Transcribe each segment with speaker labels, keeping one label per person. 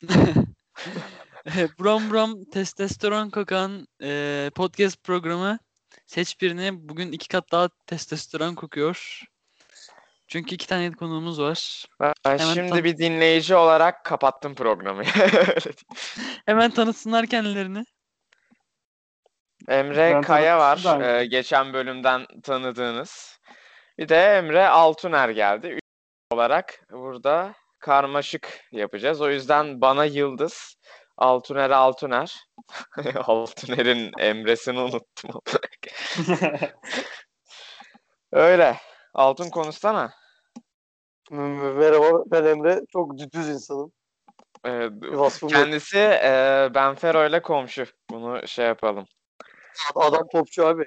Speaker 1: Eh, Brom Brom Testosteron Kokan eh, podcast programı seç birini. Bugün iki kat daha testosteron kokuyor. Çünkü iki tane konuğumuz var.
Speaker 2: Ben
Speaker 1: Hemen
Speaker 2: şimdi
Speaker 1: tam-
Speaker 2: bir dinleyici olarak kapattım programı.
Speaker 1: Hemen tanıtsınlar kendilerini.
Speaker 2: Emre
Speaker 3: Ben
Speaker 2: Kaya var.
Speaker 3: tanıtmıştım daha
Speaker 2: e, geçen bölümden tanıdığınız. Bir de Emre Altuner geldi. Üç olarak burada karmaşık yapacağız. O yüzden bana Yıldız, Altuner Altuner. Altuner'in Emre'sini unuttum. Öyle. Altın konuşsana.
Speaker 3: Merhaba ben Emre. Çok düz insanım.
Speaker 2: Ee,
Speaker 3: Bir vasfım yok.
Speaker 2: kendisi e, Benfero'yla komşu. Bunu şey yapalım.
Speaker 3: Adam popçu abi.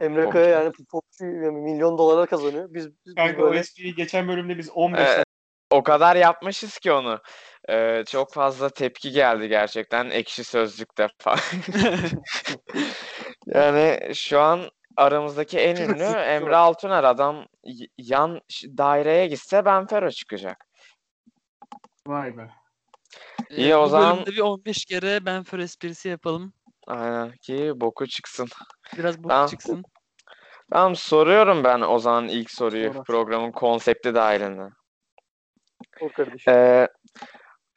Speaker 3: Emre
Speaker 2: Popçu.
Speaker 3: Kaya yani popçu yani milyon dolarlar kazanıyor. Biz, biz
Speaker 4: Kanka o
Speaker 3: Hani böyle
Speaker 4: espriyi geçen bölümde biz 15
Speaker 2: Ee, o kadar yapmışız ki onu. Ee, çok fazla tepki geldi gerçekten ekşi sözlükte falan. Yani şu an aramızdaki en ünlü Emre Altuner adam y- yan ş- daireye gitse Benfero çıkacak.
Speaker 4: Vay be.
Speaker 1: Eh,
Speaker 2: İyi, o
Speaker 1: bu
Speaker 2: zaman-
Speaker 1: bölümde bir 15 kere ben för esprisi yapalım.
Speaker 2: Aynen ki boku çıksın.
Speaker 1: Biraz bu
Speaker 2: Tamam.
Speaker 1: çıksın.
Speaker 2: Tamam soruyorum ben o zaman ilk soruyu
Speaker 4: Sor.
Speaker 2: programın konsepti dahilinde.
Speaker 3: o kardeşim.
Speaker 2: Ee,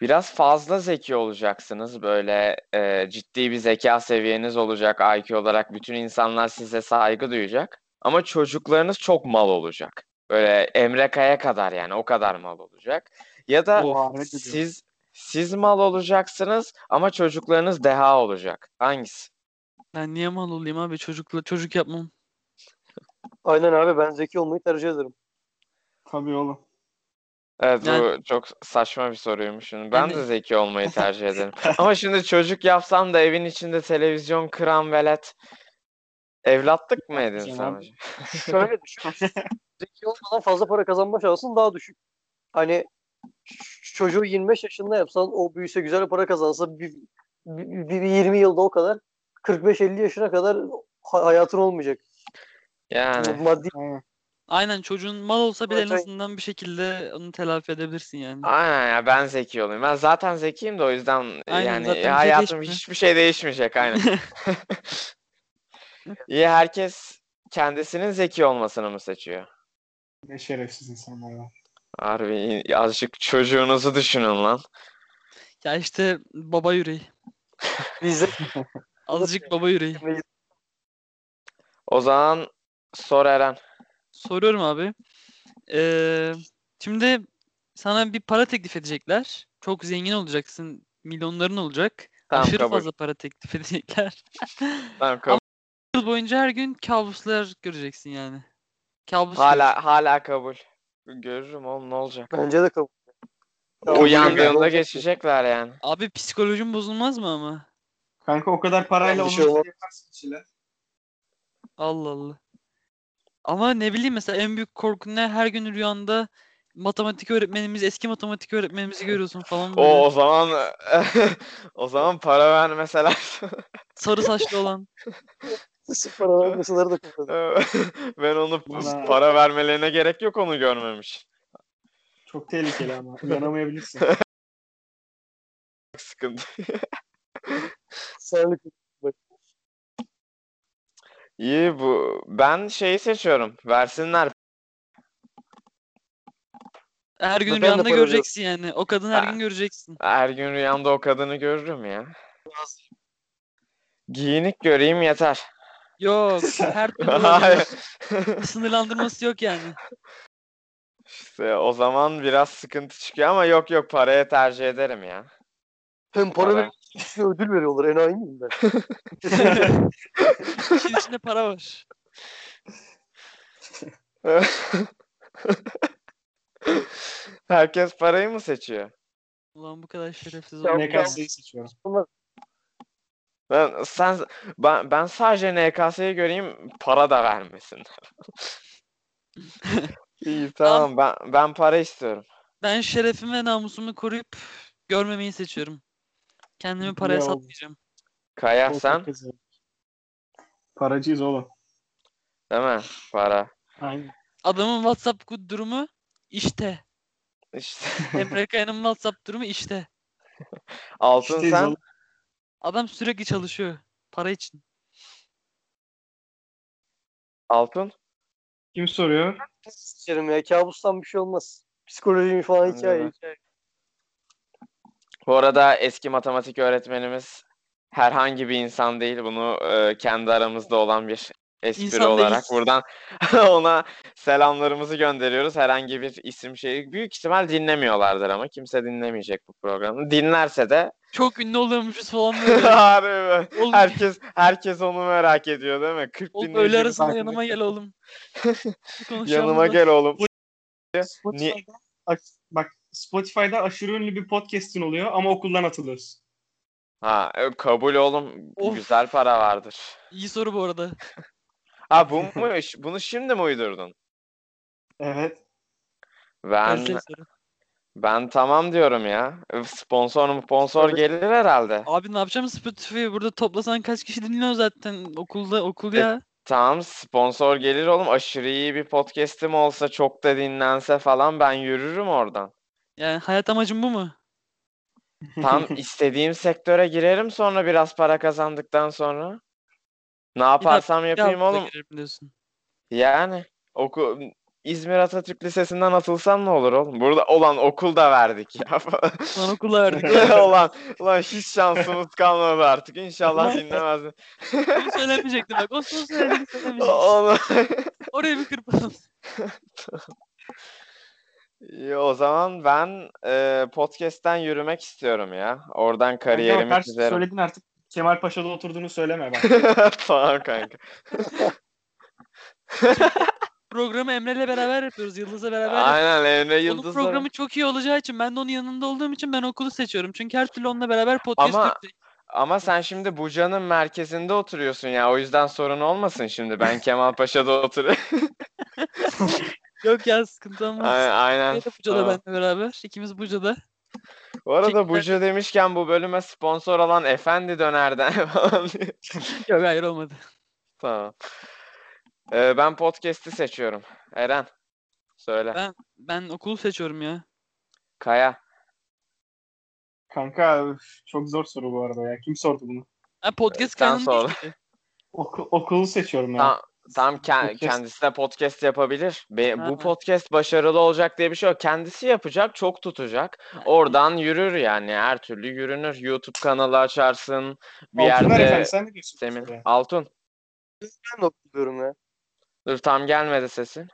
Speaker 2: biraz fazla zeki olacaksınız. Böyle e, ciddi bir zeka seviyeniz olacak IQ olarak. Bütün insanlar size saygı duyacak. Ama çocuklarınız çok mal olacak. Böyle Emre Kaya kadar yani o kadar mal olacak. Ya da
Speaker 4: Oha, ne kötü.
Speaker 2: siz siz mal olacaksınız ama çocuklarınız deha olacak. Hangisi?
Speaker 1: Ben niye mal olayım abi? Çocukla çocuk yapmam.
Speaker 3: Aynen abi ben zeki olmayı tercih ederim.
Speaker 4: Tabii oğlum.
Speaker 2: Evet bu
Speaker 1: Yani-
Speaker 2: çok saçma bir soruymuş. Ben de
Speaker 1: Yani-
Speaker 2: zeki olmayı tercih ederim. Ama şimdi çocuk yapsam da evin içinde televizyon kıran velet evlatlık mı edin
Speaker 4: Cenab-
Speaker 2: sana?
Speaker 3: Şöyle düşün. zeki olmadan fazla para kazanma şansın daha düşük. Hani ç- çocuğu 25 yaşında yapsan o büyüse güzel para kazansa bir, bir, bir 20 yılda o kadar 45-50 yaşına kadar ha- hayatın olmayacak.
Speaker 2: Yani
Speaker 3: Maddi
Speaker 4: Aynen.
Speaker 1: Aynen çocuğun mal olsa bile en
Speaker 3: Zaten-
Speaker 1: azından bir şekilde onu telafi edebilirsin yani.
Speaker 2: aynen ya ben zeki olayım. Ben zaten zekiyim de o yüzden
Speaker 1: Aynen,
Speaker 2: yani
Speaker 1: zaten bir şey
Speaker 2: hayatım
Speaker 1: değişmiyor.
Speaker 2: hiçbir şey değişmeyecek aynen. İyi herkes kendisinin zeki olmasını mı seçiyor?
Speaker 4: Ne şerefsiz insanlar ya.
Speaker 2: Harbi azıcık çocuğunuzu düşünün lan.
Speaker 1: Ya işte baba yüreği.
Speaker 3: bizde
Speaker 1: Azıcık baba yüreği.
Speaker 2: O zaman sor Eren.
Speaker 1: Soruyorum abi. Ee, şimdi sana bir para teklif edecekler. Çok zengin olacaksın. Milyonların olacak.
Speaker 2: Tamam
Speaker 1: Aşırı
Speaker 2: kabul.
Speaker 1: fazla para teklif edecekler.
Speaker 2: Tamam kabul.
Speaker 1: Yıl boyunca her gün kabuslar göreceksin yani. Kabus görürsün.
Speaker 2: Hala hala kabul. Görürüm oğlum ne olacak?
Speaker 3: Bence de kabul. Ya,
Speaker 2: Uyandığında geçecekler yani.
Speaker 1: Abi psikolojin bozulmaz mı ama?
Speaker 4: Kanka o kadar parayla
Speaker 3: Bir
Speaker 4: onu
Speaker 3: şey olmaz.
Speaker 4: yaparsın bir şeyler.
Speaker 1: Allah Allah. Ama ne bileyim mesela en büyük korkun ne? Her gün rüyanda matematik öğretmenimiz, eski matematik öğretmenimizi görüyorsun falan böyle.
Speaker 2: O o zaman o zaman para vermeseler
Speaker 1: Sarı saçlı olan.
Speaker 3: Sıfır para vermeseler de kabul.
Speaker 2: ben onu
Speaker 4: Ulan.
Speaker 2: para vermelerine gerek yok onu görmemiş.
Speaker 4: Çok tehlikeli ama. Uyanamayabilirsin.
Speaker 2: Sıkıntı.
Speaker 3: Senlik
Speaker 2: İyi bu. Ben şeyi seçiyorum. Versinler.
Speaker 1: Her gün
Speaker 3: Ben de
Speaker 1: rüyanda
Speaker 3: para
Speaker 1: göreceksin yani. O kadın her
Speaker 2: Ha.
Speaker 1: gün göreceksin.
Speaker 2: Her gün rüyamda o kadını görürüm ya. Giyinik göreyim yeter.
Speaker 1: Yok. Her türlü olabilir.
Speaker 2: Hayır.
Speaker 1: Sınırlandırması yok yani.
Speaker 2: İşte o zaman biraz sıkıntı çıkıyor ama yok yok paraya tercih ederim ya.
Speaker 3: Hem para
Speaker 2: Para.
Speaker 3: verip size ödül veriyorlar. Enayi miyim ben?
Speaker 1: İşin içinde para var.
Speaker 2: Herkes parayı mı seçiyor?
Speaker 1: Ulan bu kadar şerefsiz
Speaker 3: Ya
Speaker 1: olmak.
Speaker 3: bu-
Speaker 4: NKS'yi seçiyorum.
Speaker 2: Ben sen ben, ben sadece NKS'yi göreyim para da vermesin. İyi tamam ben ben para istiyorum.
Speaker 1: Ben şerefimi ve namusumu koruyup görmemeyi seçiyorum. Kendimi paraya
Speaker 4: Ya.
Speaker 1: satmayacağım.
Speaker 2: Kaya
Speaker 4: Çok
Speaker 2: sen
Speaker 4: kızım. Paracıyız oğlum.
Speaker 2: değil mi? Para.
Speaker 4: Aynen.
Speaker 1: Adamın WhatsApp durumu işte.
Speaker 2: İşte
Speaker 1: Emre Kaya'nın WhatsApp durumu işte.
Speaker 2: Altın
Speaker 4: İşteyiz
Speaker 2: sen
Speaker 4: oğlum.
Speaker 1: Adam sürekli çalışıyor. Para için.
Speaker 2: altın.
Speaker 4: Kim soruyor?
Speaker 3: Sikerim ya kabustan bir şey olmaz. Psikoloji falan
Speaker 2: Bence de.
Speaker 3: hikaye. hikaye.
Speaker 2: Bu arada eski matematik öğretmenimiz herhangi bir insan değil. Bunu e, kendi aramızda olan bir espri
Speaker 1: İnsan değil.
Speaker 2: olarak buradan ona selamlarımızı gönderiyoruz. Herhangi bir isim şeyi büyük ihtimal dinlemiyorlardır ama kimse dinlemeyecek bu programı. Dinlerse de
Speaker 1: Çok ünlü oluyormuşuz falan böyle.
Speaker 2: Harbi mi?
Speaker 1: Oğlum,
Speaker 2: herkes herkes onu merak ediyor değil mi? 40
Speaker 1: oğlum
Speaker 2: dinleyicimiz
Speaker 1: öğle arasında
Speaker 2: var.
Speaker 1: yanıma gel oğlum. Bir konuşalım
Speaker 2: Yanıma
Speaker 1: lan.
Speaker 2: gel oğlum.
Speaker 4: Spotify'da, aş- bak Spotify'da aşırı ünlü bir podcast'in oluyor ama okuldan atılıyorsun.
Speaker 2: Ha e, kabul oğlum.
Speaker 1: Of.
Speaker 2: Güzel para vardır.
Speaker 1: İyi soru bu arada.
Speaker 2: Ha bu mu? Bunu şimdi mi uydurdun?
Speaker 4: Evet.
Speaker 2: Ben
Speaker 1: Kaliteli soru.
Speaker 2: ben tamam diyorum ya. Sponsor mu sponsor
Speaker 3: Tabii.
Speaker 2: gelir herhalde.
Speaker 1: Abi ne yapacağım Spotify'ı? Burada toplasan kaç kişi dinliyor zaten okulda okul ya.
Speaker 2: Tamam sponsor gelir oğlum. Aşırı iyi bir podcast'im olsa çok da dinlense falan ben yürürüm oradan.
Speaker 1: Yani hayat amacım bu mu?
Speaker 2: Tam istediğim sektöre girerim sonra biraz para kazandıktan sonra. Ne yaparsam
Speaker 1: Bir
Speaker 2: yapayım
Speaker 1: haftada
Speaker 2: oğlum.
Speaker 1: girerim diyorsun.
Speaker 2: Yani oku İzmir Atatürk Lisesi'nden atılsam ne olur oğlum? Burada olan okul da verdik ya.
Speaker 1: Lan okula verdik.
Speaker 2: olan olan hiç şansımız kalmadı artık. İnşallah dinlemez.
Speaker 1: Onu söylemeyecektim bak. O son söylediğini söylemeyecektim.
Speaker 2: Onu...
Speaker 1: Oraya bir kırpalım.
Speaker 2: İyi, o zaman ben e, podcast'ten yürümek istiyorum ya. Oradan kariyerimi
Speaker 4: Kanka bak, her şeyi
Speaker 2: çizerim.
Speaker 4: Söyledin artık Kemal Paşa'da oturduğunu söyleme bak.
Speaker 2: tamam kanka.
Speaker 1: Programı Emre'yle beraber yapıyoruz. Yıldız'la beraber yapıyoruz.
Speaker 2: Aynen Emre
Speaker 1: Onun
Speaker 2: Yıldız'la.
Speaker 1: programı çok iyi olacağı için ben de onun yanında olduğum için ben okulu seçiyorum. Çünkü her türlü onunla beraber podcast
Speaker 2: Ama-
Speaker 1: yapacağız.
Speaker 2: Ama sen şimdi Buca'nın merkezinde oturuyorsun ya. O yüzden sorun olmasın şimdi. Ben Kemalpaşa'da oturuyorum.
Speaker 1: Yok ya sıkıntı olmaz.
Speaker 2: Aynen. aynen.
Speaker 1: Emre de Buca'da
Speaker 2: Tamam.
Speaker 1: benle beraber. İkimiz Buca'da.
Speaker 2: Bu arada
Speaker 1: Teşekkürler.
Speaker 2: Buca demişken bu bölüme sponsor olan Efendi Döner'den falan diye.
Speaker 1: Yok hayır olmadı.
Speaker 2: Tamam. Ee, ben podcast'i seçiyorum. Eren. Söyle.
Speaker 1: Ben- Ben okulu seçiyorum ya.
Speaker 2: Kaya.
Speaker 4: Kanka üf, çok zor soru bu arada ya. Kim sordu bunu?
Speaker 1: Ha, podcast
Speaker 2: Sen
Speaker 1: kanalı değil
Speaker 2: sor.
Speaker 1: ki.
Speaker 4: Oku- okulu seçiyorum ya.
Speaker 2: Tamam. Tam ke-
Speaker 4: Podcast.
Speaker 2: kendisi de podcast yapabilir. Be-
Speaker 1: Ha.
Speaker 2: bu podcast başarılı olacak diye bir şey yok. Kendisi yapacak, çok tutacak. Oradan yürür yani. Her türlü yürünür. YouTube kanalı açarsın. Bir
Speaker 4: Altınlar
Speaker 2: yerde
Speaker 4: Efendi, sen ne diyorsun? bu
Speaker 2: Semin-
Speaker 4: soruya?
Speaker 2: Altun.
Speaker 3: Ben de okul diyorum ya.
Speaker 2: Dur tam gelmedi sesin.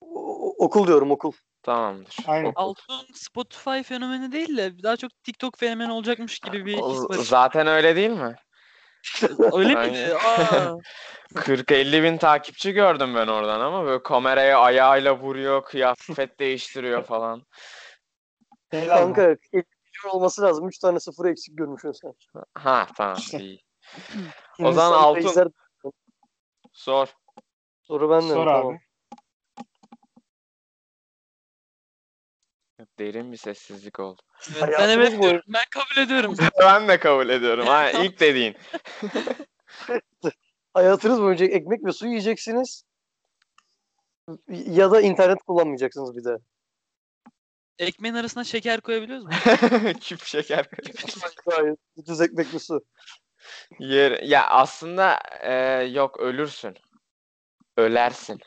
Speaker 3: O- o- okul diyorum okul.
Speaker 2: Tamamdır.
Speaker 4: Aynen.
Speaker 2: Oku.
Speaker 1: Altun Spotify fenomeni değil de daha çok TikTok fenomeni olacakmış gibi bir his
Speaker 2: O-
Speaker 1: var.
Speaker 2: Zaten öyle değil mi?
Speaker 1: Öyle
Speaker 2: Aynen.
Speaker 1: miydi? Aa,
Speaker 2: 40-50 bin takipçi gördüm ben oradan ama böyle kameraya ayağıyla vuruyor, kıyafet değiştiriyor falan.
Speaker 4: Helal lan.
Speaker 3: Kanka 50 milyon olması lazım. 3 tane sıfır eksik görmüşsün sen.
Speaker 2: Ha tamam
Speaker 4: İşte.
Speaker 2: iyi.
Speaker 4: Şimdi
Speaker 2: O zaman
Speaker 3: Sen
Speaker 2: Altun
Speaker 3: teyzeler-
Speaker 2: sor.
Speaker 3: Soru ben de.
Speaker 4: Sor
Speaker 3: tamam.
Speaker 4: abi.
Speaker 2: Derin bir sessizlik oldu.
Speaker 1: evet, ben
Speaker 3: Hayatımız
Speaker 1: evet
Speaker 3: boyu-
Speaker 1: diyorum. Ben kabul ediyorum.
Speaker 2: Ben de kabul ediyorum. Ha, ilk dediğin.
Speaker 3: Hayatınız boyunca ekmek ve su yiyeceksiniz. Ya da internet kullanmayacaksınız bir de.
Speaker 1: Ekmeğin arasına şeker koyabiliyoruz mu?
Speaker 2: Küp şeker.
Speaker 3: Hayır, düz ekmek ve su.
Speaker 2: Yer, ya aslında e, yok ölürsün. Ölersin.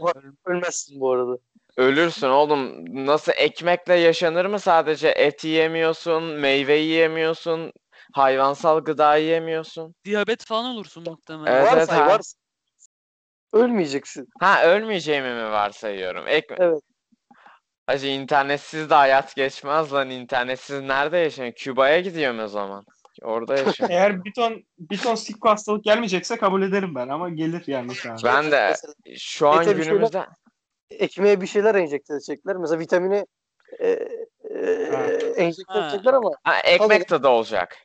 Speaker 3: Ölmezsin bu arada.
Speaker 2: Ölürsün oğlum. Nasıl ekmekle yaşanır mı sadece? Et yiyemiyorsun, meyve yiyemiyorsun, hayvansal gıda yiyemiyorsun.
Speaker 1: Diyabet falan olursun muhtemelen.
Speaker 2: Evet,
Speaker 3: varsay,
Speaker 2: evet, ha.
Speaker 3: varsay. Ölmeyeceksin.
Speaker 2: Ha ölmeyeceğimi mi varsayıyorum? Ek
Speaker 3: Evet.
Speaker 2: Hacı internetsiz de hayat geçmez lan. İnternetsiz nerede yaşayayım? Küba'ya gidiyorum o zaman. Orada yaşıyorum.
Speaker 4: Eğer bir ton, bir ton sikko hastalık gelmeyecekse kabul ederim ben ama gelir yani şu an.
Speaker 2: Ben de
Speaker 3: Mesela
Speaker 2: E, şu an
Speaker 3: Ete bir şeyler-
Speaker 2: günümüzde
Speaker 3: ekmeğe bir şeyler enjekte edecekler. Mesela vitamini e, e,
Speaker 4: Ha.
Speaker 3: enjekte
Speaker 1: Ha.
Speaker 3: edecekler ama
Speaker 2: ha, ekmek tadı olacak.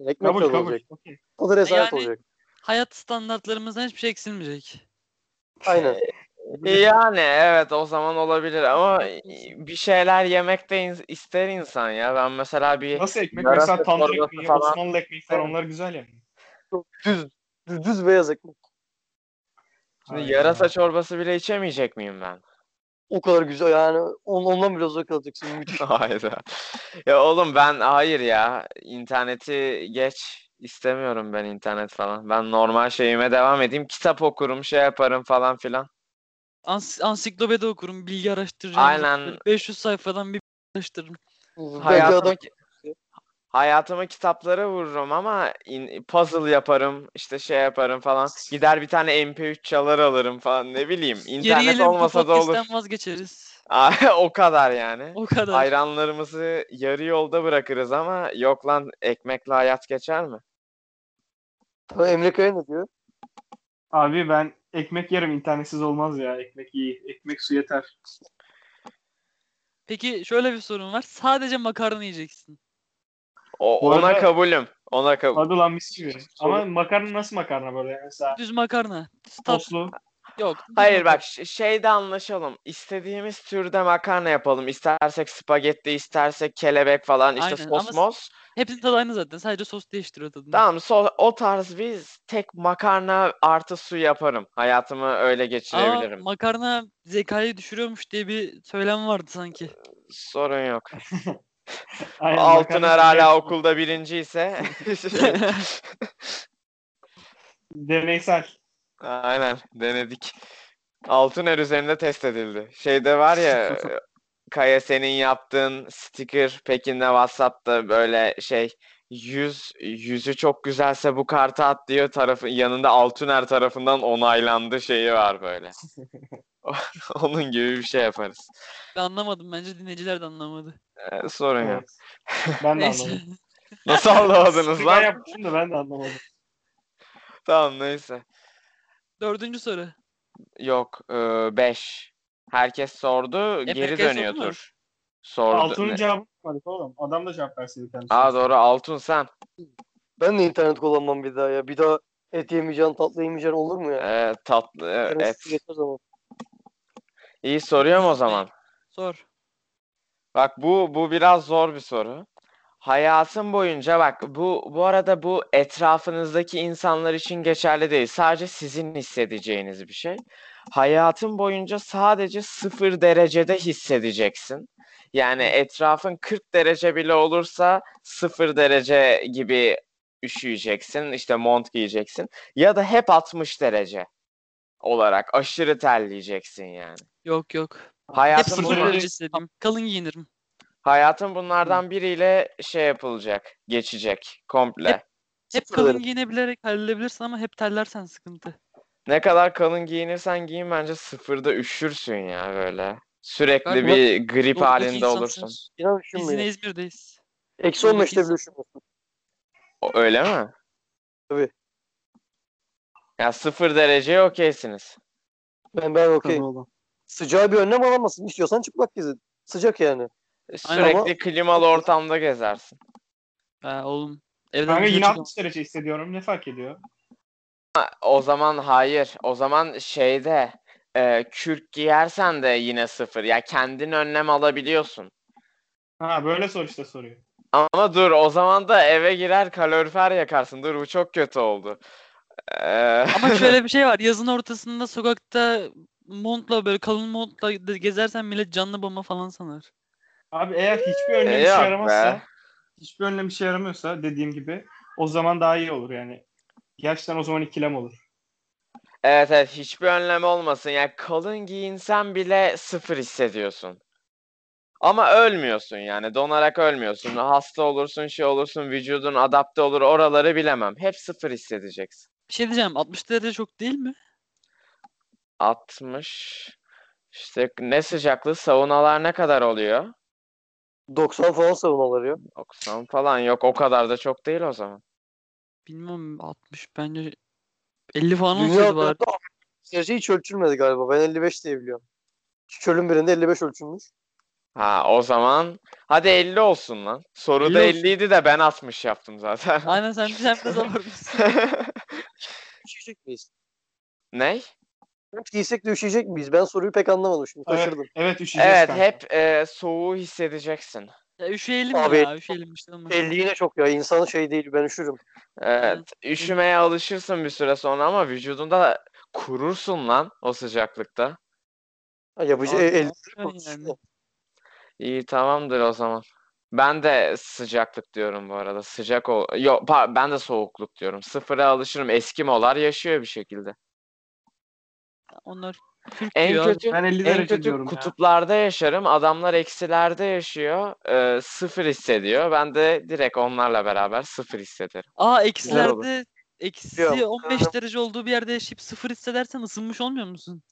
Speaker 3: ekmek
Speaker 4: Kabul
Speaker 3: tadı
Speaker 4: kabul.
Speaker 3: olacak.
Speaker 4: Okey.
Speaker 3: O da rezalet
Speaker 1: Yani-
Speaker 3: olacak.
Speaker 1: Hayat standartlarımızdan hiçbir şey eksilmeyecek.
Speaker 3: Aynen.
Speaker 2: Şey, E, Yani evet o zaman olabilir ama e, bir şeyler yemek de in- ister insan ya. Ben mesela bir
Speaker 4: Nasıl ekmek?
Speaker 2: Yarasa
Speaker 4: Mesela tandır
Speaker 2: çorbası
Speaker 4: ekmeği,
Speaker 2: falan.
Speaker 4: Osmanlı ekmeği falan
Speaker 3: Evet.
Speaker 4: onlar güzel yani.
Speaker 3: Düz, düz, düz beyaz ekmek.
Speaker 2: şimdi yarasa çorbası bile içemeyecek miyim ben?
Speaker 3: O kadar güzel yani. On, ondan biraz uzak kalacaksın. Müthiş.
Speaker 2: Hayda. Ya oğlum ben hayır ya. İnterneti geç. İstemiyorum ben internet falan. Ben normal şeyime devam edeyim. Kitap okurum, şey yaparım falan filan.
Speaker 1: Ans- ansiklopedi okurum, bilgi araştıracağım.
Speaker 2: Aynen.
Speaker 1: 500 sayfadan bir araştırırım.
Speaker 3: Belki
Speaker 2: Hayatıma,
Speaker 3: adam
Speaker 2: hayatıma kitaplara vururum ama in- puzzle yaparım, işte şey yaparım falan. Gider bir tane MP3 çalar alırım falan ne bileyim. İnternet
Speaker 1: Geriye
Speaker 2: olmasa da olur.
Speaker 1: vazgeçeriz.
Speaker 2: o kadar yani.
Speaker 1: O kadar.
Speaker 2: Hayranlarımızı yarı yolda bırakırız ama yok lan ekmekle hayat geçer mi?
Speaker 3: Emre Kaya ne diyor?
Speaker 4: Abi ben ekmek yerim internetsiz olmaz ya. Ekmek iyi. Ekmek su yeter.
Speaker 1: Peki şöyle bir sorun var. Sadece makarna yiyeceksin.
Speaker 2: O,
Speaker 4: Bu
Speaker 2: ona
Speaker 4: arada-
Speaker 2: kabulüm. Ona kabul.
Speaker 4: Hadi lan mis gibi. Ama makarna nasıl makarna böyle mesela?
Speaker 1: Düz makarna. Stat
Speaker 4: Soslu.
Speaker 1: yok. düz
Speaker 2: Hayır
Speaker 1: makarna.
Speaker 2: bak ş- şeyde anlaşalım. İstediğimiz türde makarna yapalım. İstersek spagetti, istersek kelebek falan işte
Speaker 1: Aynen,
Speaker 2: sos
Speaker 1: ama-
Speaker 2: mos.
Speaker 1: Hepsinin tadı aynı zaten. Sadece sos değiştiriyor tadını.
Speaker 2: Tamam so o tarz biz tek makarna artı su yaparım. Hayatımı öyle
Speaker 1: Ama
Speaker 2: geçirebilirim.
Speaker 1: makarna zekayı düşürüyormuş diye bir söylem vardı sanki.
Speaker 2: Sorun yok.
Speaker 4: Aynen,
Speaker 2: Altın er
Speaker 4: makarna
Speaker 2: hala
Speaker 4: yerim.
Speaker 2: okulda birinci ise
Speaker 4: Deneysel.
Speaker 2: Aynen denedik. Altıner üzerinde test edildi. Şeyde var ya e, Kaya senin yaptığın sticker Pekin'de WhatsApp'ta böyle şey yüz yüzü çok güzelse bu kartı at diyor tarafı yanında Altıner tarafından onaylandı şeyi var böyle. Onun gibi bir şey yaparız.
Speaker 1: Ben anlamadım. Bence dinleyiciler de anlamadı.
Speaker 2: E, sorun yok.
Speaker 4: Evet. Ben de
Speaker 1: Neyse.
Speaker 4: anlamadım.
Speaker 2: Nasıl anlamadınız
Speaker 4: Sıkı
Speaker 2: lan?
Speaker 4: yapmışım da ben de anlamadım.
Speaker 2: Tamam neyse.
Speaker 1: Dördüncü soru.
Speaker 2: Yok 5. Herkes sordu.
Speaker 1: Hep
Speaker 2: Geri
Speaker 1: herkes sordu
Speaker 2: dönüyor
Speaker 1: mu?
Speaker 2: tur. Sordu.
Speaker 4: Altının
Speaker 2: Ne-
Speaker 4: cevabını yapmadık oğlum. Adam da cevap verseydi kendisi.
Speaker 2: Aa doğru Altun sen.
Speaker 3: Ben de internet kullanmam bir daha ya. Bir daha et yemeyeceğim, tatlı yemeyeceğim olur mu ya?
Speaker 2: Ee, tatlı e,
Speaker 3: Evet.
Speaker 2: et.
Speaker 3: Yeter zaman.
Speaker 2: İyi soruyorum o zaman.
Speaker 1: Sor.
Speaker 2: Bak bu bu biraz zor bir soru. Hayatın boyunca bak bu bu arada bu etrafınızdaki insanlar için geçerli değil. Sadece sizin hissedeceğiniz bir şey. Hayatın boyunca sadece sıfır derecede hissedeceksin. Yani etrafın 40 derece bile olursa sıfır derece gibi üşüyeceksin. işte mont giyeceksin. Ya da hep 60 derece olarak aşırı terleyeceksin yani.
Speaker 1: Yok yok. Hep
Speaker 2: Hayatın
Speaker 1: sıfır
Speaker 2: boyunca-
Speaker 1: derece istediğim. Kalın giyinirim.
Speaker 2: Hayatın bunlardan biriyle şey yapılacak, geçecek komple.
Speaker 1: Hep
Speaker 3: Sıfır
Speaker 1: kalın
Speaker 3: derece.
Speaker 1: giyinebilerek halledebilirsin ama hep terlersen sıkıntı.
Speaker 2: Ne kadar kalın giyinirsen giyin bence sıfırda üşürsün ya böyle. Sürekli
Speaker 1: Bak,
Speaker 2: bir grip
Speaker 1: Doğudaki
Speaker 2: halinde
Speaker 1: insansın.
Speaker 2: olursun.
Speaker 3: İnan
Speaker 1: Biz
Speaker 3: üşünmüyor.
Speaker 1: yine İzmir'deyiz.
Speaker 3: Eksi 15'te bile üşünmüyorsun.
Speaker 2: O- Öyle mi?
Speaker 3: Tabii.
Speaker 2: Ya sıfır dereceye okeysiniz.
Speaker 3: Ben ben
Speaker 4: Tabii
Speaker 3: okey.
Speaker 4: oğlum.
Speaker 3: Sıcağı bir önlem alamazsın. İstiyorsan çıplak gezin. Sıcak yani.
Speaker 2: Sürekli
Speaker 3: Ama-
Speaker 2: klimalı ortamda gezersin.
Speaker 1: Ha, oğlum. Evden
Speaker 4: Kanka
Speaker 1: dışarı
Speaker 4: yine
Speaker 1: çıkamam.
Speaker 4: 60 derece hissediyorum. Ne fark ediyor?
Speaker 2: O zaman hayır. O zaman şeyde e, kürk giyersen de yine sıfır. Ya kendin önlem alabiliyorsun.
Speaker 4: Ha böyle sor işte soruyor.
Speaker 2: Ama dur o zaman da eve girer kalorifer yakarsın. Dur bu çok kötü oldu. Ee,
Speaker 1: Ama şöyle bir şey var. Yazın ortasında sokakta montla böyle kalın montla de- gezersen millet canlı bomba falan sanar.
Speaker 4: Abi eğer hiçbir önlem işe
Speaker 2: Yok Ee, be.
Speaker 4: yaramazsa hiçbir önlem işe yaramıyorsa dediğim gibi o zaman daha iyi olur yani. Gerçekten o zaman ikilem olur.
Speaker 2: evet evet hiçbir önlem olmasın. Yani kalın giyinsen bile sıfır hissediyorsun. Ama ölmüyorsun yani donarak ölmüyorsun. Hasta olursun şey olursun vücudun adapte olur oraları bilemem. Hep sıfır hissedeceksin.
Speaker 1: Bir şey diyeceğim. 60 derece çok değil mi?
Speaker 2: 60 işte ne sıcaklığı saunalar ne kadar oluyor?
Speaker 3: 90 falan savunalar ya.
Speaker 2: 90 falan yok o kadar da çok değil o zaman.
Speaker 1: Bilmem 60 bence 50 falan
Speaker 3: Dünya
Speaker 1: olsaydı bari.
Speaker 3: üzerinde derece hiç ölçülmedi galiba. Ben 55 diye biliyorum. Çölün birinde 55 ölçülmüş.
Speaker 2: Ha o zaman hadi 50 olsun lan. Soruda
Speaker 1: 50 olsun.
Speaker 2: 50 idi de ben 60 yaptım zaten.
Speaker 1: Aynen sen sen de zavarmışsın.
Speaker 3: Üşüyecek miyiz?
Speaker 2: Ne?
Speaker 3: Hep giysek de üşüyecek miyiz? Ben soruyu pek anlamadım şimdi.
Speaker 4: Evet.
Speaker 3: Şaşırdım.
Speaker 4: Evet üşüyeceğiz
Speaker 2: Evet
Speaker 4: kanka.
Speaker 2: hep e, soğuğu hissedeceksin.
Speaker 1: Ya üşüyelim
Speaker 3: Abi-
Speaker 1: ya üşüyelim işte ama.
Speaker 3: 50 yine çok ya. İnsan şey değil. Ben üşürüm.
Speaker 2: Evet, üşümeye alışırsın bir süre sonra ama vücudunda kurursun lan o sıcaklıkta.
Speaker 3: Ha, Yapıcı e,
Speaker 1: Abi,
Speaker 3: el, el-
Speaker 1: Yani yani.
Speaker 2: İyi tamamdır o zaman. Ben de sıcaklık diyorum bu arada. Sıcak ol. Yok pa- ben de soğukluk diyorum. Sıfıra alışırım. Eskimolar yaşıyor bir şekilde.
Speaker 1: Onlar Türk
Speaker 2: En
Speaker 1: diyor abi.
Speaker 2: kötü
Speaker 4: Ben 50
Speaker 2: en
Speaker 4: derece
Speaker 2: kötü
Speaker 4: diyorum ya.
Speaker 2: kutuplarda yaşarım. Adamlar eksilerde yaşıyor. Ee, sıfır hissediyor. Ben de direkt onlarla beraber sıfır hissederim.
Speaker 1: Aa
Speaker 2: Güzel olur.
Speaker 1: eksilerde eksi
Speaker 3: Yok.
Speaker 1: 15 derece olduğu bir yerde yaşayıp sıfır hissedersen ısınmış olmuyor musun?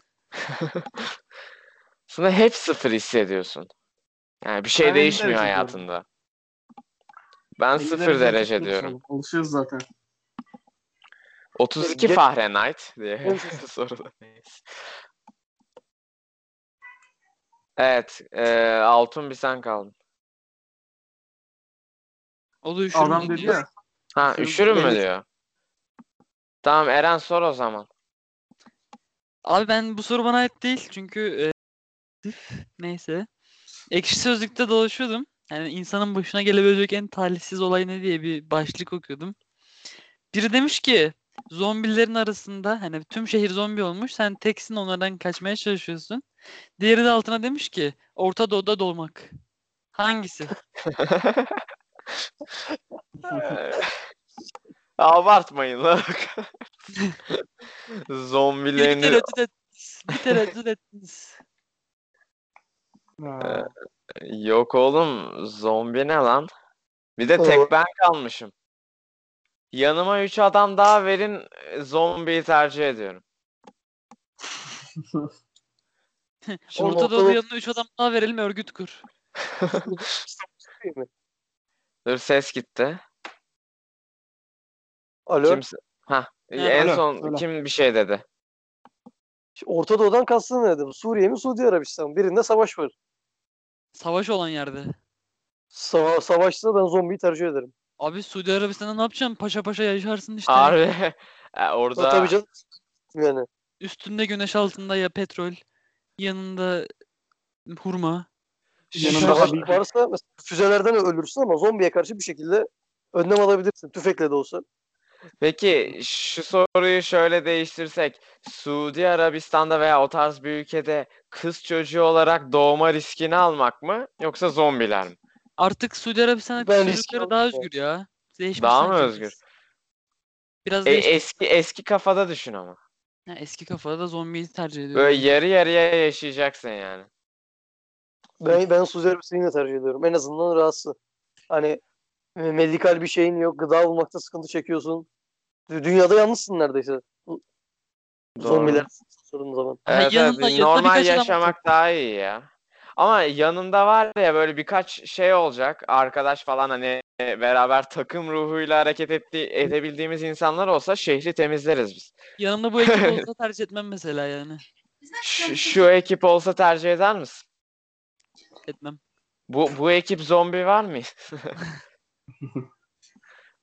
Speaker 2: Aslında hep sıfır hissediyorsun. Yani bir şey
Speaker 4: Ben elli
Speaker 2: değişmiyor
Speaker 4: derece diyorum.
Speaker 2: hayatında. Ben
Speaker 4: 50
Speaker 2: sıfır
Speaker 4: dereceden
Speaker 2: derece
Speaker 4: tutmuyoruz
Speaker 2: diyorum.
Speaker 4: oğlum. Alışıyoruz zaten.
Speaker 2: 32
Speaker 3: Ge-
Speaker 2: Fahrenheit diye
Speaker 3: Ge-
Speaker 2: soruluyuz. Evet, eee, altın bir sen kaldın.
Speaker 1: O da üşür
Speaker 4: Adam
Speaker 1: mü
Speaker 4: dedi
Speaker 1: diyor.
Speaker 4: ya.
Speaker 2: Ha,
Speaker 4: Üşürüm,
Speaker 2: üşürüm mü
Speaker 4: evet.
Speaker 2: diyor. Tamam Eren sor o zaman.
Speaker 1: Abi ben bu soru bana ait değil çünkü e, üf, neyse. Ekşi Sözlük'te dolaşıyordum. Yani insanın başına gelebilecek en talihsiz olay ne diye bir başlık okuyordum. Biri demiş ki zombilerin arasında hani tüm şehir zombi olmuş sen teksin onlardan kaçmaya çalışıyorsun. Diğeri de altına demiş ki Orta Doğu'da doğmak. Hangisi?
Speaker 2: Abartmayın lan.
Speaker 1: Bir
Speaker 2: Zombilerin
Speaker 1: tereddüt ettiniz. Bir tereddüt ettiniz.
Speaker 2: Ee,
Speaker 4: Ha.
Speaker 2: yok oğlum zombi ne lan? Bir de
Speaker 3: Oo.
Speaker 2: tek ben kalmışım. Yanıma 3 adam daha verin e, zombiyi tercih ediyorum.
Speaker 3: Şimdi
Speaker 1: Orta
Speaker 3: ortada-
Speaker 1: Doğu'da yanına 3 adam daha verelim örgüt kur.
Speaker 2: Dur ses gitti.
Speaker 3: Alo.
Speaker 2: Kimse... Ha, en
Speaker 4: alo,
Speaker 2: son
Speaker 4: söyle.
Speaker 2: kim bir şey dedi?
Speaker 3: Orta Doğu'dan kastın ne dedim? Suriye mi Suudi Arabistan mı? Birinde savaş var.
Speaker 1: Savaş olan yerde.
Speaker 3: Sa- savaşta ben zombiyi tercih ederim.
Speaker 1: Abi Suudi Arabistan'da ne yapacaksın? Paşa paşa yaşarsın işte.
Speaker 2: Harbi. E,
Speaker 3: Ya
Speaker 2: orada
Speaker 3: Tabii canım. Yani.
Speaker 1: Üstünde güneş altında ya petrol. Yanında hurma.
Speaker 4: Yanında
Speaker 3: savaş
Speaker 4: tabii ki.
Speaker 3: varsa mesela füzelerden ölürsün ama zombiye karşı bir şekilde önlem alabilirsin. Tüfekle de olsa.
Speaker 2: Peki şu soruyu şöyle değiştirsek. Suudi Arabistan'da veya o tarz bir ülkede kız çocuğu olarak doğma riskini almak mı yoksa zombiler mi?
Speaker 1: Artık Suudi Arabistan'da
Speaker 3: Ben
Speaker 1: kız
Speaker 3: risk
Speaker 1: çocukları daha
Speaker 3: almıyorum.
Speaker 1: özgür ya. Değişmiş
Speaker 2: Daha mı
Speaker 1: sanki
Speaker 2: özgür?
Speaker 1: biraz. Biraz
Speaker 2: E,
Speaker 1: değişti.
Speaker 2: eski eski kafada düşün ama.
Speaker 1: Ha, eski kafada da zombiyi tercih ediyor.
Speaker 2: Böyle yarı yarıya yaşayacaksın yani.
Speaker 3: Ben, ben Suudi Arabistan'ı yine tercih ediyorum. En azından rahatsız. Hani e, medikal bir şeyin yok. Gıda bulmakta sıkıntı çekiyorsun. Dü- Dünyada yalnızsın neredeyse.
Speaker 2: Doğru.
Speaker 3: Zombiler sorun zaman.
Speaker 1: Ha,
Speaker 2: Evet,
Speaker 1: yanında-
Speaker 2: evet,
Speaker 1: yanında
Speaker 2: normal
Speaker 1: birkaç adam
Speaker 2: yaşamak daha iyi ya. Ama yanında var ya böyle birkaç şey olacak. Arkadaş falan hani beraber takım ruhuyla hareket etti, edebildiğimiz insanlar olsa şehri temizleriz biz.
Speaker 1: Yanımda bu ekip olsa tercih etmem mesela yani.
Speaker 2: Şu, şu ekip olsa tercih eder misin?
Speaker 1: Etmem.
Speaker 2: Bu bu ekip zombi var mı?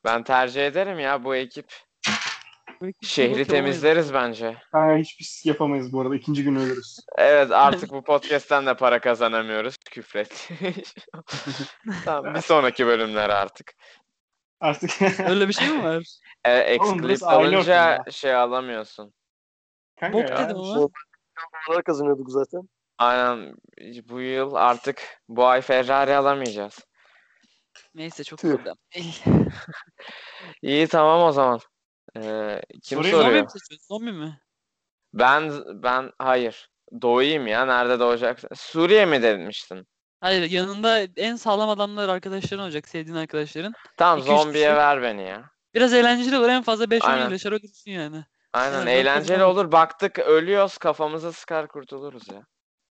Speaker 2: Ben tercih ederim ya bu ekip.
Speaker 1: Bu ekip
Speaker 2: Şehri
Speaker 1: yapamayız.
Speaker 2: temizleriz bence.
Speaker 4: Ha, hiçbir şey yapamayız bu arada. İkinci gün ölürüz.
Speaker 2: Evet artık bu podcast'ten de para kazanamıyoruz. Küfret. Tamam, bir sonraki bölümler artık.
Speaker 4: Artık
Speaker 1: Öyle bir şey mi var?
Speaker 2: E,
Speaker 4: Oğlum, burası
Speaker 2: Exclip
Speaker 4: aile
Speaker 2: alınca
Speaker 4: ortamı.
Speaker 2: şey alamıyorsun.
Speaker 4: kanka
Speaker 1: Bok
Speaker 4: ya.
Speaker 1: dedi ama.
Speaker 3: Zor- Paralar kazanıyorduk zaten.
Speaker 2: Aynen bu yıl artık bu ay Ferrari alamayacağız.
Speaker 1: Neyse çok
Speaker 3: Tüh.
Speaker 1: problem değil.
Speaker 2: İyi tamam o zaman. Ee, kim
Speaker 4: Soruyu
Speaker 1: Zombi
Speaker 2: soruyor?
Speaker 1: mi seçiyorsun? Zombi mi?
Speaker 2: Ben ben hayır. Doğayım ya. Nerede doğacaksın? Suriye mi demiştin?
Speaker 1: Hayır yanında en sağlam adamlar arkadaşların olacak. Sevdiğin arkadaşların.
Speaker 2: Tamam
Speaker 1: İki, üç
Speaker 2: zombiye
Speaker 1: kişi.
Speaker 2: ver beni ya.
Speaker 1: Biraz eğlenceli olur. En fazla 5-10
Speaker 2: Aynen.
Speaker 1: yıl yaşar ölürsün yani.
Speaker 2: Aynen
Speaker 1: Evet, dört
Speaker 2: eğlenceli
Speaker 1: kızım.
Speaker 2: olur. Baktık ölüyoruz kafamıza sıkar kurtuluruz ya.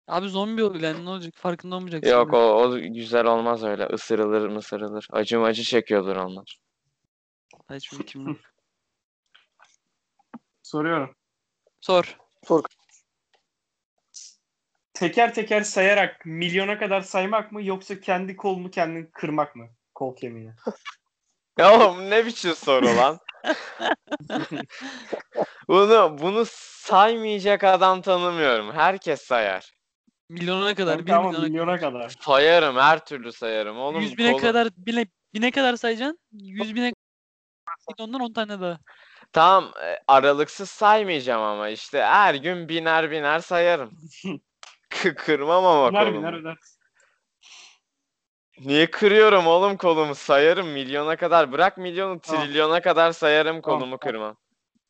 Speaker 1: Abi zombi ol yani ne olacak? Farkında olmayacaksın.
Speaker 2: Yok
Speaker 1: bile.
Speaker 2: o, o güzel olmaz öyle. Isırılır mısırılır. Acım acı çekiyordur onlar.
Speaker 1: Saçma kim bilir.
Speaker 4: Soruyorum.
Speaker 1: Sor.
Speaker 4: Teker teker sayarak milyona kadar saymak mı yoksa kendi kolunu kendin kırmak mı? Kol kemiğini.
Speaker 2: Ya oğlum ne biçim soru lan? bunu bunu saymayacak adam tanımıyorum. Herkes sayar.
Speaker 1: Milyonuna kadar.
Speaker 4: Kanka
Speaker 1: Bir
Speaker 4: ama
Speaker 1: milyona
Speaker 4: milyona kadar.
Speaker 2: Sayarım her türlü sayarım oğlum.
Speaker 1: Yüz bine
Speaker 2: kolu-
Speaker 1: kadar bine, bine kadar sayacaksın. Yüz bine Bir de ondan on tane daha.
Speaker 2: Tamam e, aralıksız saymayacağım ama işte her gün biner biner sayarım. Kı- kırmam ama
Speaker 4: Öner
Speaker 2: kolumu.
Speaker 4: biner öder.
Speaker 2: Niye kırıyorum oğlum kolumu? Sayarım milyona kadar. Bırak milyonu
Speaker 4: Tamam.
Speaker 2: trilyona kadar sayarım
Speaker 4: Tamam,
Speaker 2: kolumu
Speaker 4: tamam.
Speaker 2: kırmam.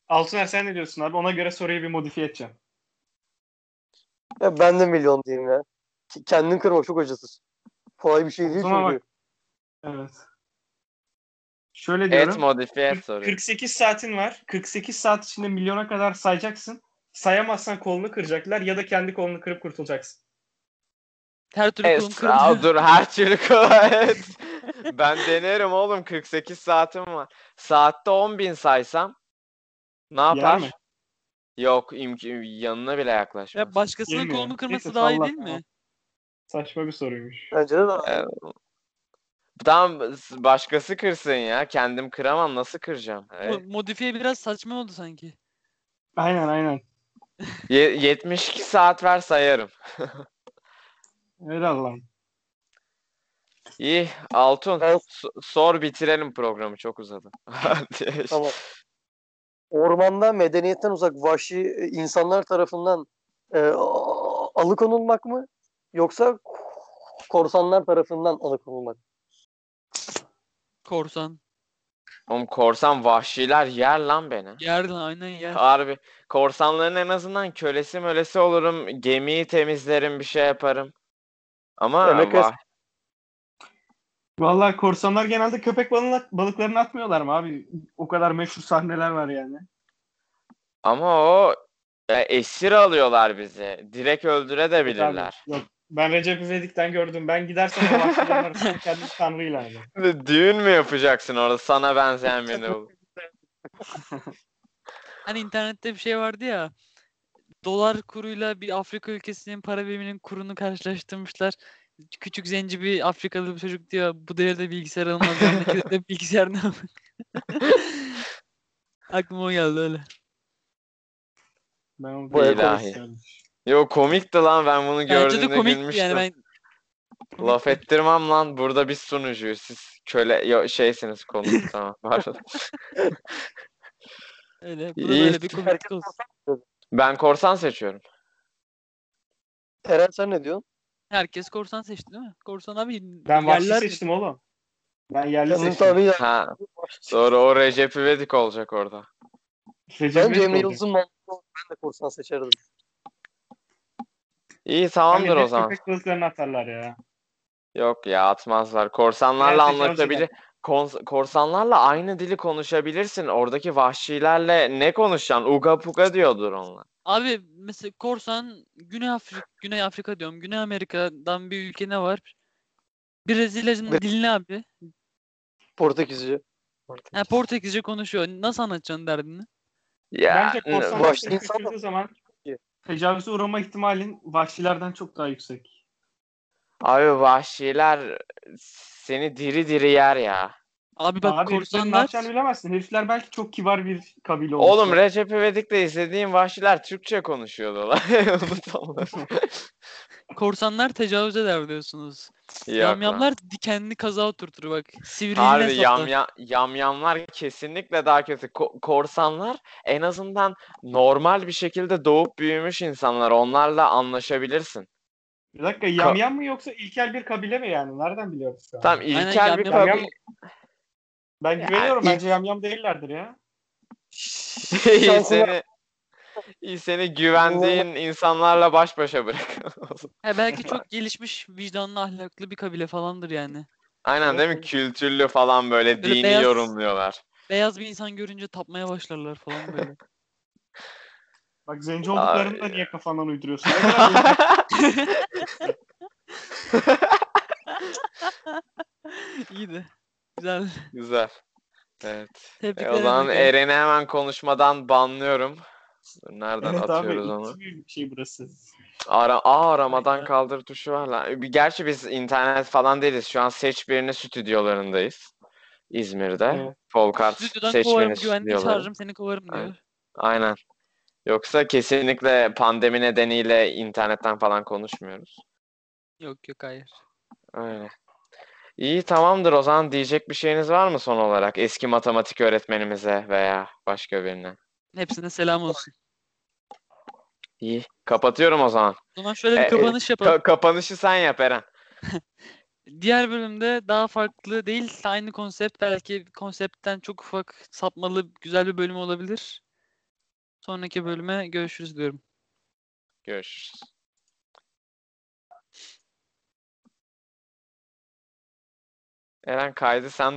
Speaker 4: Altuner sen ne diyorsun abi? Ona göre soruyu bir modifiye edeceğim.
Speaker 3: Ya ben de milyon diyeyim ya. Ki- Kendin kırma çok acıtır. Kolay bir şey değil
Speaker 4: zaman
Speaker 3: çünkü.
Speaker 4: Evet. Şöyle diyorum.
Speaker 2: Et modifiye et soruyu.
Speaker 4: 48 saatin var. 48 saat içinde milyona kadar sayacaksın. Sayamazsan kolunu kıracaklar ya da kendi kolunu kırıp kurtulacaksın.
Speaker 1: Her türlü
Speaker 2: Es-
Speaker 1: kolum
Speaker 2: Aa,
Speaker 1: kırıldı.
Speaker 2: dur her türlü kolay et. ben denerim oğlum 48 saatim var. Saatte 10.000 saysam ne yapar?
Speaker 4: mi?
Speaker 2: Yok imk- yanına bile yaklaşmaz.
Speaker 1: Ya başkasının
Speaker 4: Yemiyor.
Speaker 1: kolunu kırması
Speaker 4: Neyse,
Speaker 1: daha iyi
Speaker 4: salla,
Speaker 1: değil mi?
Speaker 4: tamam. Saçma bir soruymuş.
Speaker 3: Bence de
Speaker 2: Evet. Tamam s- başkası kırsın ya. Kendim kıramam nasıl kıracağım? E,
Speaker 1: Mo-
Speaker 2: Evet.
Speaker 1: Modifiye biraz saçma oldu sanki.
Speaker 4: Aynen aynen.
Speaker 2: Ye- 72 saat ver sayarım.
Speaker 4: Öyle Allah'ım.
Speaker 2: İyi Altun
Speaker 3: Evet.
Speaker 2: so- sor bitirelim programı çok uzadı. Hadi.
Speaker 3: Tamam. Ormanda medeniyetten uzak vahşi e, insanlar tarafından e, a- alıkonulmak mı? Yoksa korsanlar tarafından alıkonulmak mı?
Speaker 1: Korsan.
Speaker 2: Oğlum korsan vahşiler yer lan beni.
Speaker 1: Yer lan aynen yer.
Speaker 2: Harbi. Korsanların en azından kölesi mölesi olurum. Gemiyi temizlerim bir şey yaparım. Ama
Speaker 3: Emek
Speaker 2: vah-
Speaker 4: Vallahi korsanlar genelde köpek balığı- balıklarını atmıyorlar mı abi? O kadar meşhur sahneler var yani.
Speaker 2: ama o e, esir alıyorlar bizi. Direkt öldüre de bilirler.
Speaker 4: Yok. Ben Recep İvedik'ten gördüm. Ben gidersem o vahşilerin arasında kendim tanrı ilan ederim.
Speaker 2: Düğün mü yapacaksın orada sana benzeyen birini bul.
Speaker 1: Hani internette bir şey vardı ya. Dolar kuruyla bir Afrika ülkesinin para biriminin kurunu karşılaştırmışlar. Küçük zenci bir Afrikalı bir çocuk diyor bu devirde bilgisayar alınmaz. Yanındaki de bilgisayar ne alın?" Aklıma o geldi öyle.
Speaker 4: Ben onu
Speaker 3: Bu
Speaker 4: bir-
Speaker 2: ilahi. Yo komikti lan ben bunu
Speaker 1: Bence de
Speaker 2: gördüğümde
Speaker 1: komikti
Speaker 2: gülmüştüm.
Speaker 1: yani ben komikti.
Speaker 2: Laf ettirmem lan burada biz sunucuyuz siz köle yo, şeysiniz konu tamam pardon.
Speaker 1: öyle.
Speaker 2: İyi.
Speaker 1: Burada böyle bir komiklik olsun.
Speaker 2: Ben korsan seçiyorum.
Speaker 3: Eren sen ne diyorsun?
Speaker 1: Herkes korsan seçti değil mi? Korsan abi
Speaker 4: Ben vahşi
Speaker 1: yerler-
Speaker 4: seçtim oğlum. Ben yerli
Speaker 3: Kendin
Speaker 4: seçtim.
Speaker 3: tabii yani.
Speaker 2: Ha doğru o Recep İvedik olacak orada.
Speaker 4: Recep
Speaker 3: Bence
Speaker 4: İvedik
Speaker 3: Emre
Speaker 4: olacak.
Speaker 3: Yıldız'ın mantıklı olduğunu ben de korsan seçerdim.
Speaker 2: İyi tamamdır
Speaker 4: Hani
Speaker 2: o
Speaker 4: hep
Speaker 2: zaman.
Speaker 4: Köpek balıklarını atarlar ya.
Speaker 2: Yok ya atmazlar. Korsanlarla
Speaker 4: Gerçekten
Speaker 2: anlaşabilir. Kons- korsanlarla aynı dili konuşabilirsin. Oradaki vahşilerle ne konuşacaksın? Uga puga diyordur onlar.
Speaker 1: Abi mesela korsan Güney Afrika Güney Afrika diyorum. Güney Amerika'dan bir ülke ne var? Brezilya'nın
Speaker 3: Bre-
Speaker 1: dilini abi.
Speaker 3: Portekizce.
Speaker 1: Ha, Portekizce konuşuyor. Nasıl anlatacaksın derdini?
Speaker 2: Ya
Speaker 4: Bence
Speaker 2: n-
Speaker 4: korsan
Speaker 3: vahşi
Speaker 4: vahşi
Speaker 3: insan da-
Speaker 4: zaman tecavüze uğrama ihtimalin vahşilerden çok daha yüksek.
Speaker 2: abi vahşiler seni diri diri yer ya.
Speaker 1: Abi bak
Speaker 4: Abi heriflerin ne
Speaker 1: korsanlar
Speaker 4: yapacağını bilemezsin. Herifler belki çok kibar bir kabile olmuş.
Speaker 2: Oğlum Recep İvedik'te izlediğim vahşiler Türkçe konuşuyordu lan. Unutamam.
Speaker 1: korsanlar tecavüz eder diyorsunuz.
Speaker 2: Yok lan.
Speaker 1: Yamyamlar dikenli kaza oturtur bak. Sivriliğine
Speaker 2: Harbi
Speaker 1: saplar.
Speaker 2: yamya- yamyamlar kesinlikle daha kötü. Ko- korsanlar en azından normal bir şekilde doğup büyümüş insanlar. Onlarla anlaşabilirsin.
Speaker 4: Bir dakika yamyam mı yoksa ilkel bir kabile mi yani? Nereden biliyoruz şu an?
Speaker 2: Tam
Speaker 1: Aynen,
Speaker 2: ilkel bir
Speaker 1: yamyam-
Speaker 2: kabile.
Speaker 4: Yamyam- Ben güveniyorum
Speaker 2: Ya,
Speaker 4: bence yamyam değillerdir ya.
Speaker 2: iyi
Speaker 3: Şansına-
Speaker 2: seni iyi seni güvendiğin insanlarla baş başa bırak.
Speaker 1: Ha, belki çok gelişmiş vicdanlı ahlaklı bir kabile falandır yani.
Speaker 2: Aynen değil mi? Kültürlü falan böyle
Speaker 1: Böyle
Speaker 2: dini
Speaker 1: beyaz-
Speaker 2: yorumluyorlar.
Speaker 1: Beyaz bir insan görünce tapmaya başlarlar falan böyle.
Speaker 4: Bak zenci olduklarını da
Speaker 2: Abi.
Speaker 4: niye kafandan uyduruyorsun?
Speaker 1: İyiydi. Güzel.
Speaker 2: Güzel. Evet. E,
Speaker 1: Tebrikler.
Speaker 2: o zaman
Speaker 1: Emre.
Speaker 2: Eren'i hemen konuşmadan banlıyorum. Dur, Nereden
Speaker 4: evet abi
Speaker 2: atıyoruz onu?
Speaker 4: ikinci bir şey burası.
Speaker 2: Ara, aa aramadan
Speaker 1: Hayda.
Speaker 2: kaldır tuşu var lan. E, Bir- Gerçi biz internet falan değiliz. Şu an Seç Birini stüdyolarındayız. İzmir'de.
Speaker 4: Evet.
Speaker 2: Polkart
Speaker 1: Stüdyodan
Speaker 2: Seç
Speaker 1: kovarım
Speaker 2: Birini
Speaker 1: güvenliği
Speaker 2: stüdyoları.
Speaker 1: çağırırım seni kovarım diyor.
Speaker 2: Aynen. Aynen. Yoksa kesinlikle pandemi nedeniyle internetten falan konuşmuyoruz.
Speaker 1: Yok yok hayır.
Speaker 2: Öyle. İyi tamamdır o zaman diyecek bir şeyiniz var mı son olarak? Eski matematik öğretmenimize veya başka birine.
Speaker 1: Hepsine selam olsun.
Speaker 2: İyi. Kapatıyorum o zaman.
Speaker 1: O zaman şöyle
Speaker 2: E,
Speaker 1: bir
Speaker 2: e,
Speaker 1: kapanış yapalım.
Speaker 2: Ka- kapanışı sen yap Eren.
Speaker 1: Diğer bölümde daha farklı değil, aynı konsept belki konseptten çok ufak sapmalı güzel bir bölüm olabilir. Sonraki bölüme görüşürüz diyorum.
Speaker 2: Görüşürüz. Eren kaydı sen